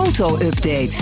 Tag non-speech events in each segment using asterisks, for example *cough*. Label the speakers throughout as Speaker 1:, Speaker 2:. Speaker 1: Auto-update.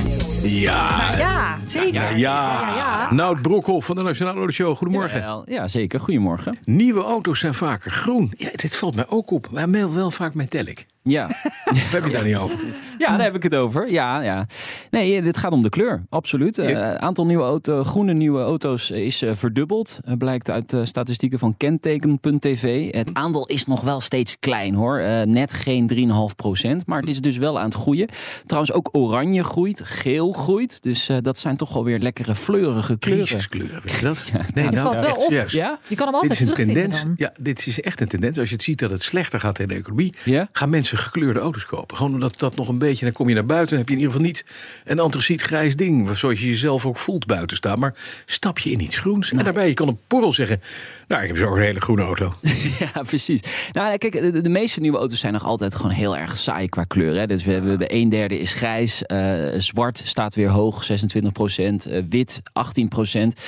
Speaker 2: Ja.
Speaker 3: Ja, zeker.
Speaker 2: Ja.
Speaker 3: ja,
Speaker 2: ja.
Speaker 3: ja.
Speaker 2: Nout Broekhoff van de Nationale Auto Show. Goedemorgen.
Speaker 4: Jawel, Ja, zeker. Goedemorgen.
Speaker 2: Nieuwe auto's zijn vaker groen. Ja, dit valt mij ook op. Wij mailen wel vaak metallic.
Speaker 4: *laughs* Ja.
Speaker 2: Of heb je daar niet over?
Speaker 3: *laughs*
Speaker 4: ja, daar heb ik het over. Ja, ja. Nee, eh, dit gaat om de kleur. Absoluut. Het
Speaker 2: Ja.
Speaker 4: aantal nieuwe auto, groene nieuwe auto's eh, is eh, verdubbeld. Eh, blijkt uit eh, statistieken van kenteken.tv. Het aandeel is nog wel steeds klein hoor. Eh, net geen 3,5 procent. Maar het is dus wel aan het groeien. Trouwens, ook oranje groeit. Geel groeit. Dus eh, dat zijn toch wel weer lekkere fleurige kleuren.
Speaker 2: Jesuskleuren, weet je dat?
Speaker 4: Ja,
Speaker 3: dat valt wel op.
Speaker 2: nou, serieus.
Speaker 4: Ja?
Speaker 3: Je kan hem
Speaker 2: Dit
Speaker 3: altijd
Speaker 2: is een
Speaker 3: terugvinden
Speaker 2: tendens.
Speaker 3: dan.
Speaker 2: Ja, dit is echt een tendens. Als je het ziet dat het slechter gaat in de economie,
Speaker 4: Ja.
Speaker 2: gaan mensen gekleurde auto's kopen. Gewoon omdat dat nog een beetje. Dan kom je naar buiten en heb je in ieder geval niet een antraciet grijs ding. Zoals je jezelf ook voelt buiten staan. Maar stap je in iets groens. En daarbij, je kan een porrel zeggen. Nou, ik heb zo een hele groene
Speaker 3: *laughs*
Speaker 2: auto.
Speaker 4: *laughs* Ja, precies. Nou, ja, kijk, de, de meeste nieuwe auto's zijn nog altijd gewoon heel erg saai qua kleur. Hè? Dus we hebben de een derde is grijs, eh, zwart staat weer hoog, 26 procent, eh, wit 18 procent.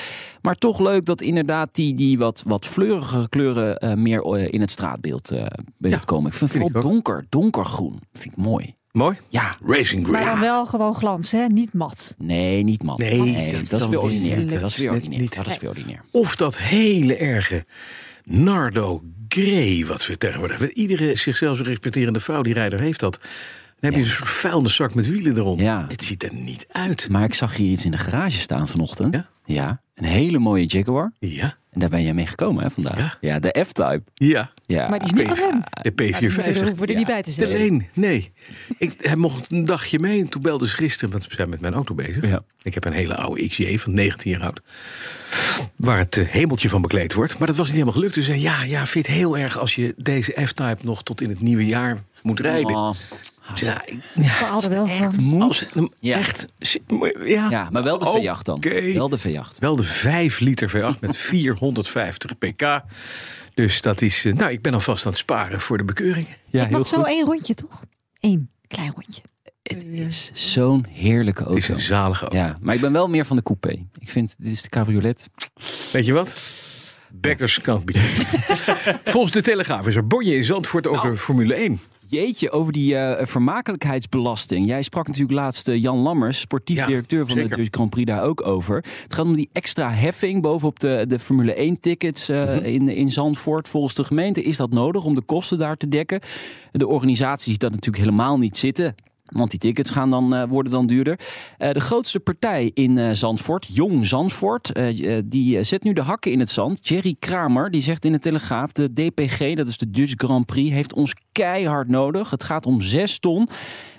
Speaker 4: Maar toch leuk dat inderdaad die, die wat, wat fleurige kleuren eh, meer eh, in het straatbeeld eh, beeld
Speaker 2: Ja,
Speaker 4: komen. Ik vind,
Speaker 2: vind
Speaker 4: vooral
Speaker 2: ik ook.
Speaker 4: donker, donkergroen. Vind ik mooi.
Speaker 2: Mooi.
Speaker 4: Ja.
Speaker 2: Racing
Speaker 3: Maar
Speaker 2: Grey.
Speaker 3: dan wel gewoon glans, hè? Niet mat.
Speaker 4: Nee, niet mat.
Speaker 2: Nee, dat
Speaker 4: dat, is
Speaker 2: kan
Speaker 4: weer
Speaker 2: niet.
Speaker 4: ordinair.
Speaker 2: Dat
Speaker 4: Dat is
Speaker 2: is
Speaker 4: weer
Speaker 2: net
Speaker 4: ordinair.
Speaker 2: niet.
Speaker 4: Dat is weer ordinair.
Speaker 2: Of dat hele erge Nardo Grey, wat we tegenwoordig hebben. Iedere zichzelf respecterende vrouwrijder heeft dat. Dan heb je een soort vuilniszak met wielen erom.
Speaker 4: Ja.
Speaker 2: Het ziet er niet uit.
Speaker 4: Maar ik zag hier iets in de garage staan vanochtend.
Speaker 2: Ja?
Speaker 4: ja een hele mooie Jaguar.
Speaker 2: Ja.
Speaker 4: En daar ben jij mee gekomen hè, vandaag.
Speaker 2: Ja.
Speaker 4: de F-Type.
Speaker 2: Ja.
Speaker 4: Ja.
Speaker 3: Maar die is niet van hem.
Speaker 2: De
Speaker 3: Nee, daar
Speaker 2: P450.
Speaker 3: hoeven we er niet bij te
Speaker 2: Te
Speaker 3: zijn.
Speaker 2: leen, nee. Ik, hij mocht een dagje mee. En toen belde ze gisteren, want we zijn met mijn auto bezig.
Speaker 4: Ja.
Speaker 2: Ik heb een hele oude XJ van 19 jaar oud. Waar het eh, hemeltje van bekleed wordt. Maar dat was niet helemaal gelukt. Dus ze zei, ja, ja, vind het heel erg als je deze F-Type nog tot in het nieuwe jaar moet rijden.
Speaker 4: Oh.
Speaker 2: Ik zei, ja, ik- ja,
Speaker 3: We hadden wel van.
Speaker 2: als,
Speaker 4: Ja.
Speaker 2: Echt. Ja.
Speaker 4: Ja, maar wel de
Speaker 2: Oké.
Speaker 4: verjacht dan. Wel de verjacht.
Speaker 2: Wel de 5 liter V8
Speaker 4: *laughs*
Speaker 2: met 450 pk. Dus dat is. eh, Nou, ik ben alvast aan het sparen voor de bekeuringen.
Speaker 4: Ja,
Speaker 3: Ik mag zo één rondje, toch? Eén klein rondje.
Speaker 4: Het is zo'n heerlijke
Speaker 2: Het is
Speaker 4: auto.
Speaker 2: een zalige auto.
Speaker 4: Ja, maar ik ben wel meer van de coupé. Ik vind, dit is de cabriolet.
Speaker 2: Weet je wat? Bekkers kan het bieden. *laughs* Volgens de Telegraaf is er bonje in Zandvoort over Formule 1.
Speaker 4: Jeetje, over die eh, vermakelijkheidsbelasting. Jij sprak natuurlijk laatst eh, Jan Lammers, sportief
Speaker 2: Ja,
Speaker 4: directeur van
Speaker 2: zeker.
Speaker 4: de Dutch Grand Prix, daar ook over. Het gaat om die extra heffing bovenop de, de Formule 1 tickets eh, in, in Zandvoort. Volgens de gemeente is dat nodig om de kosten daar te dekken. De organisatie ziet dat natuurlijk helemaal niet zitten. Want die tickets gaan dan, eh, worden dan duurder. Eh, de grootste partij in eh, Zandvoort, Jong Zandvoort, eh, eh, die eh, zet nu de hakken in het zand. Jerry Kramer, die zegt in de Telegraaf, de DPG, dat is de Dutch Grand Prix, heeft ons keihard nodig. Het gaat om zes ton.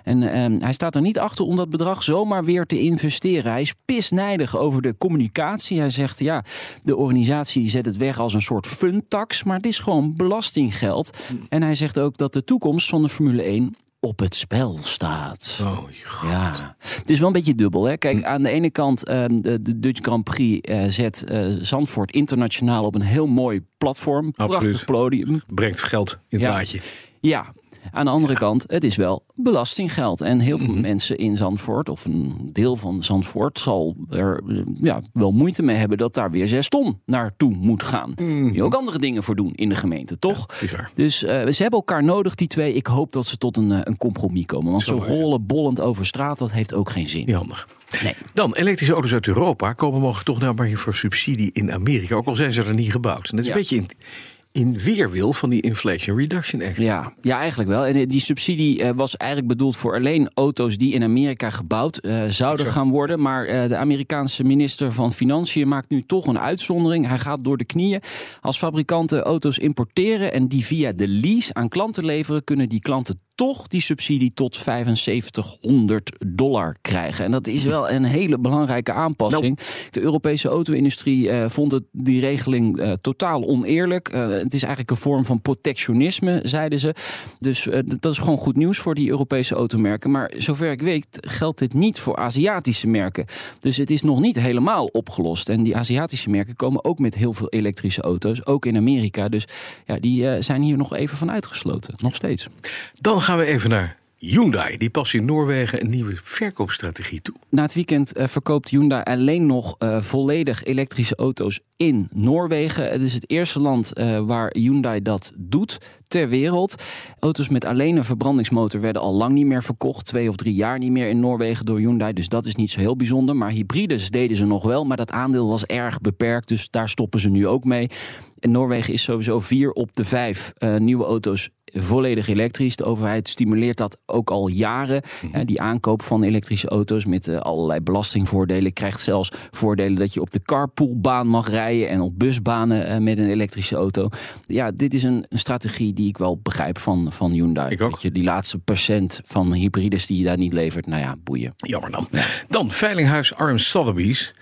Speaker 4: En eh, hij staat er niet achter om dat bedrag zomaar weer te investeren. Hij is pisnijdig over de communicatie. Hij zegt, ja, de organisatie zet het weg als een soort funtax, maar het is gewoon belastinggeld. En hij zegt ook dat de toekomst van de Formule 1 op het spel staat.
Speaker 2: Oh, joh.
Speaker 4: Ja, het is wel een beetje dubbel. Hè? Kijk, aan de ene kant, ehm, de, de Dutch Grand Prix eh, zet eh, Zandvoort internationaal op een heel mooi platform.
Speaker 2: Absoluut.
Speaker 4: Prachtig podium.
Speaker 2: brengt geld in het
Speaker 4: Ja.
Speaker 2: laadje.
Speaker 4: Ja, aan de andere kant, het is wel belastinggeld. En heel veel mensen in Zandvoort, of een deel van Zandvoort, zal er eh, ja, wel moeite mee hebben dat daar weer zes ton naartoe moet gaan. Die ook andere dingen voor doen in de gemeente, toch?
Speaker 2: Is waar.
Speaker 4: Dus eh, ze hebben elkaar nodig, die twee. Ik hoop dat ze tot een, eh, een compromis komen. Want zo
Speaker 2: Zo, ja.
Speaker 4: rollen bollend over straat, dat heeft ook geen zin.
Speaker 2: Niet handig.
Speaker 4: Nee.
Speaker 2: Dan, elektrische auto's uit Europa komen mogen toch nou maar voor subsidie in Amerika. Ook al zijn ze er niet gebouwd. En dat is
Speaker 4: Ja.
Speaker 2: een beetje in, in weerwil van die Inflation Reduction Act.
Speaker 4: Ja, ja, eigenlijk wel. En eh, die subsidie eh, was eigenlijk bedoeld voor alleen auto's die in Amerika gebouwd eh, zouden gaan worden. Maar eh, de Amerikaanse minister van Financiën maakt nu toch een uitzondering. Hij gaat door de knieën. Als fabrikanten auto's importeren en die via de lease aan klanten leveren, kunnen die klanten toch die subsidie tot 7500 dollar krijgen. En dat is wel een hele belangrijke aanpassing. De Europese auto-industrie eh, vond het, die regeling eh, totaal oneerlijk. Eh, het is eigenlijk een vorm van protectionisme, zeiden ze. Dus eh, d- dat is gewoon goed nieuws voor die Europese automerken. Maar zover ik weet geldt dit niet voor Aziatische merken. Dus het is nog niet helemaal opgelost. En die Aziatische merken komen ook met heel veel elektrische auto's, ook in Amerika. Dus ja, die eh, zijn hier nog even van uitgesloten. Nog steeds.
Speaker 2: Dan gaan we even naar Hyundai die past in Noorwegen een nieuwe verkoopstrategie toe.
Speaker 4: Na het weekend eh, verkoopt Hyundai alleen nog eh, volledig elektrische auto's in Noorwegen. Het is het eerste land eh, waar Hyundai dat doet ter wereld. Auto's met alleen een verbrandingsmotor werden al lang niet meer verkocht. Twee of drie jaar niet meer in Noorwegen door Hyundai. Dus dat is niet zo heel bijzonder. Maar hybrides deden ze nog wel. Maar dat aandeel was erg beperkt. Dus daar stoppen ze nu ook mee. En Noorwegen is sowieso vier op de vijf eh, nieuwe auto's volledig elektrisch. De overheid stimuleert dat ook al jaren.
Speaker 2: Mhm.
Speaker 4: Eh, die aankoop van elektrische auto's met eh, allerlei belastingvoordelen. Krijgt zelfs voordelen dat je op de carpoolbaan mag rijden en op busbanen eh, met een elektrische auto. Ja, dit is een, een strategie die ik wel begrijp van, van Hyundai.
Speaker 2: Ik ook.
Speaker 4: Weet je, die laatste procent van hybrides die je daar niet levert. Nou ja, boeien.
Speaker 2: Jammer dan. Dan Veilinghuis Arm Sotheby's.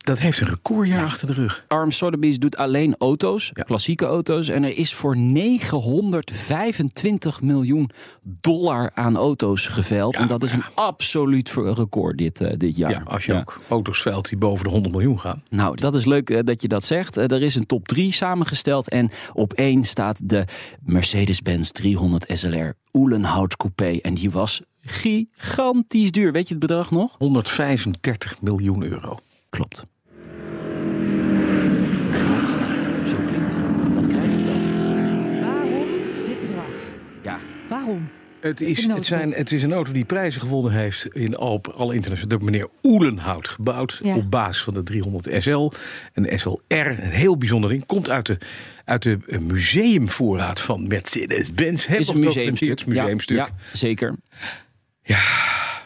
Speaker 2: Dat heeft een recordjaar achter de rug.
Speaker 4: Arm Sotheby's doet alleen auto's,
Speaker 2: Ja.
Speaker 4: klassieke auto's. En er is voor 925 miljoen dollar aan auto's geveild. en dat is een absoluut ver- record dit, eh, dit jaar.
Speaker 2: Ja, als je
Speaker 4: Ja.
Speaker 2: ook auto's veilt die boven de 100 miljoen gaan.
Speaker 4: Nou, dat is leuk eh, dat je dat zegt. Eh, er is een top 3 samengesteld. En op 1 staat de Mercedes-Benz 300 SLR Oelenhout Coupé. En die was gigantisch duur. Weet je het bedrag nog?
Speaker 2: 135 miljoen euro.
Speaker 4: Klopt. Zo klinkt. Dat krijg je dan.
Speaker 3: Waarom dit bedrag?
Speaker 4: Ja,
Speaker 3: Waarom?
Speaker 2: Het is,
Speaker 3: Een
Speaker 2: het, zijn, het is een auto die prijzen gewonnen heeft in al, alle internationale. Door meneer Oelenhout gebouwd.
Speaker 3: Ja.
Speaker 2: Op basis van de 300 SL. Een SLR, een heel bijzonder ding. Komt uit de, uit de museumvoorraad van Mercedes-Benz. Heel
Speaker 4: is
Speaker 2: wat
Speaker 4: een museumstuk.
Speaker 2: documenteerd museumstuk.
Speaker 4: Ja, ja, zeker.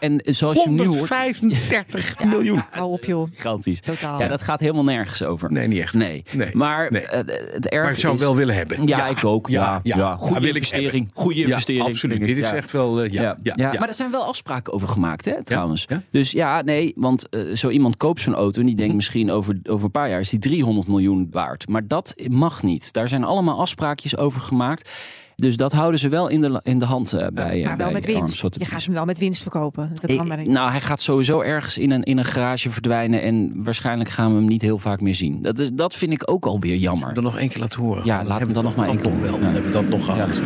Speaker 4: En zoals je nu hoort...
Speaker 3: *laughs*
Speaker 2: 135 miljoen.
Speaker 3: Hou op joh.
Speaker 4: Gigantisch.
Speaker 3: Totaal.
Speaker 4: Ja, dat gaat helemaal nergens over.
Speaker 2: Nee, niet echt.
Speaker 4: Nee.
Speaker 2: Nee.
Speaker 4: Maar
Speaker 2: Nee.
Speaker 4: eh, het erg
Speaker 2: Maar ik zou hem
Speaker 4: is...
Speaker 2: wel willen hebben.
Speaker 4: Ja, ik ook. Ja, ja. Goede
Speaker 2: Ja, wil ik
Speaker 4: investering.
Speaker 2: hebben.
Speaker 4: Goede
Speaker 2: Ja,
Speaker 4: investering.
Speaker 2: absoluut. Dit is
Speaker 4: Ja.
Speaker 2: echt wel... eh, ja, ja, ja.
Speaker 4: maar er zijn wel afspraken over gemaakt, hè, trouwens.
Speaker 2: ja. Mhm.
Speaker 4: Dus ja, nee, want eh, zo iemand koopt zo'n auto en die denkt misschien over, over een paar jaar is die 300 miljoen waard. Maar dat mag niet. Daar zijn allemaal afspraakjes over gemaakt. Dus dat houden ze wel in de, la- in de hand eh, bij. eh,
Speaker 3: Maar wel
Speaker 4: bij
Speaker 3: met
Speaker 4: Arm
Speaker 3: winst. Je
Speaker 4: Sotheby's.
Speaker 3: gaat hem wel met winst verkopen. Dat kan
Speaker 4: Eh,
Speaker 3: maar niet.
Speaker 4: nou, hij gaat sowieso ergens in een, in een garage verdwijnen. En waarschijnlijk gaan we hem niet heel vaak meer zien. Dat, is, dat vind ik ook alweer jammer.
Speaker 2: Dan nog één keer laten horen.
Speaker 4: Ja, laten we
Speaker 2: hebben
Speaker 4: dan nog maar één
Speaker 2: dat
Speaker 4: keer
Speaker 2: nog wel.
Speaker 4: horen.
Speaker 2: Dan hebben we dat nog gehad.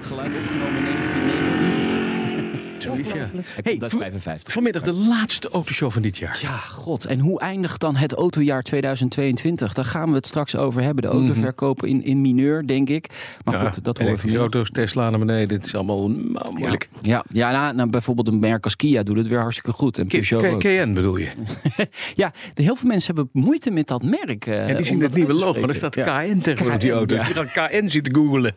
Speaker 4: Geluid opgenomen in 1919.
Speaker 2: Zoiets, ja.
Speaker 4: Hey, dat is
Speaker 2: v-
Speaker 4: 55.
Speaker 2: Vanmiddag de laatste autoshow van dit jaar.
Speaker 4: Ja, god. En hoe eindigt dan het autojaar 2022? Daar gaan we het straks over hebben. De
Speaker 2: Mhm.
Speaker 4: autoverkopen in, in mineur, denk ik. Maar goed, dat horen we
Speaker 2: elektrische
Speaker 4: vanmiddag.
Speaker 2: auto's, Tesla naar beneden. Het is allemaal mo- moeilijk.
Speaker 4: Ja, ja nou, nou, bijvoorbeeld een merk als Kia doet het weer hartstikke goed. En
Speaker 2: K-
Speaker 4: Peugeot
Speaker 2: K-
Speaker 4: ook.
Speaker 2: KN bedoel je.
Speaker 4: *laughs* Ja, de, heel veel mensen hebben moeite met dat merk. eh,
Speaker 2: en die zien
Speaker 4: om
Speaker 2: het
Speaker 4: dat
Speaker 2: nieuwe
Speaker 4: uit te
Speaker 2: logo, maar er staat
Speaker 4: spreken. Ja.
Speaker 2: KN tegenwoordig op die
Speaker 4: KN,
Speaker 2: auto's.
Speaker 4: ja.
Speaker 2: Je gaat KN zitten googelen.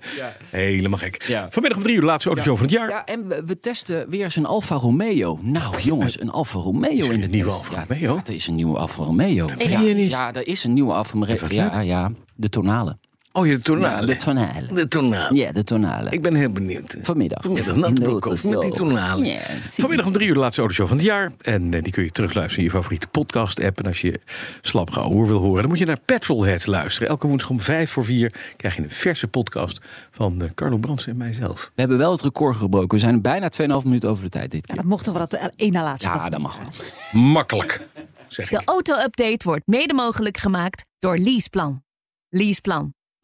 Speaker 2: Helemaal gek.
Speaker 4: Ja.
Speaker 2: Vanmiddag om drie uur, laatste autoshow van het jaar.
Speaker 4: Ja, en we, we testen weer eens een Alfa Romeo. Nou, jongens, een Alfa Romeo in de
Speaker 2: een nieuwe
Speaker 4: test.
Speaker 2: Alfa
Speaker 4: Ja,
Speaker 2: Romeo?
Speaker 4: Ja, er is een nieuwe Alfa Romeo.
Speaker 2: meen
Speaker 4: ja,
Speaker 2: je niet?
Speaker 4: ja, er is een nieuwe Alfa Romeo.
Speaker 2: wat
Speaker 4: Ja, ja, de tonale.
Speaker 2: Oh, je de
Speaker 4: Ja,
Speaker 2: tonale.
Speaker 4: de tonale.
Speaker 2: De tonale.
Speaker 4: Ja, de tonale.
Speaker 2: Ik ben heel benieuwd.
Speaker 4: Vanmiddag. *laughs*
Speaker 2: Vanmiddag,
Speaker 4: In de
Speaker 2: Nat Broekhoff
Speaker 4: auto's
Speaker 2: met die
Speaker 4: ook.
Speaker 2: tonale.
Speaker 4: Ja,
Speaker 2: Vanmiddag om drie uur de laatste autoshow van het jaar. En eh, die kun je terugluisteren in je favoriete podcast-app. En als je slap gehoor wil horen, dan moet je naar Petrolheads luisteren. Elke woensdag om vijf voor vier krijg je een verse podcast van eh, Carlo Brands en mijzelf.
Speaker 4: We hebben wel het record gebroken. We zijn bijna 2,5 minuten over de tijd dit
Speaker 3: Ja,
Speaker 4: keer.
Speaker 3: dat mochten we dat de één na laatste dag
Speaker 4: Ja,
Speaker 3: doen.
Speaker 4: dat mag wel.
Speaker 2: Makkelijk, zeg
Speaker 1: De
Speaker 2: ik.
Speaker 1: auto-update wordt mede mogelijk gemaakt door Leaseplan. Leaseplan.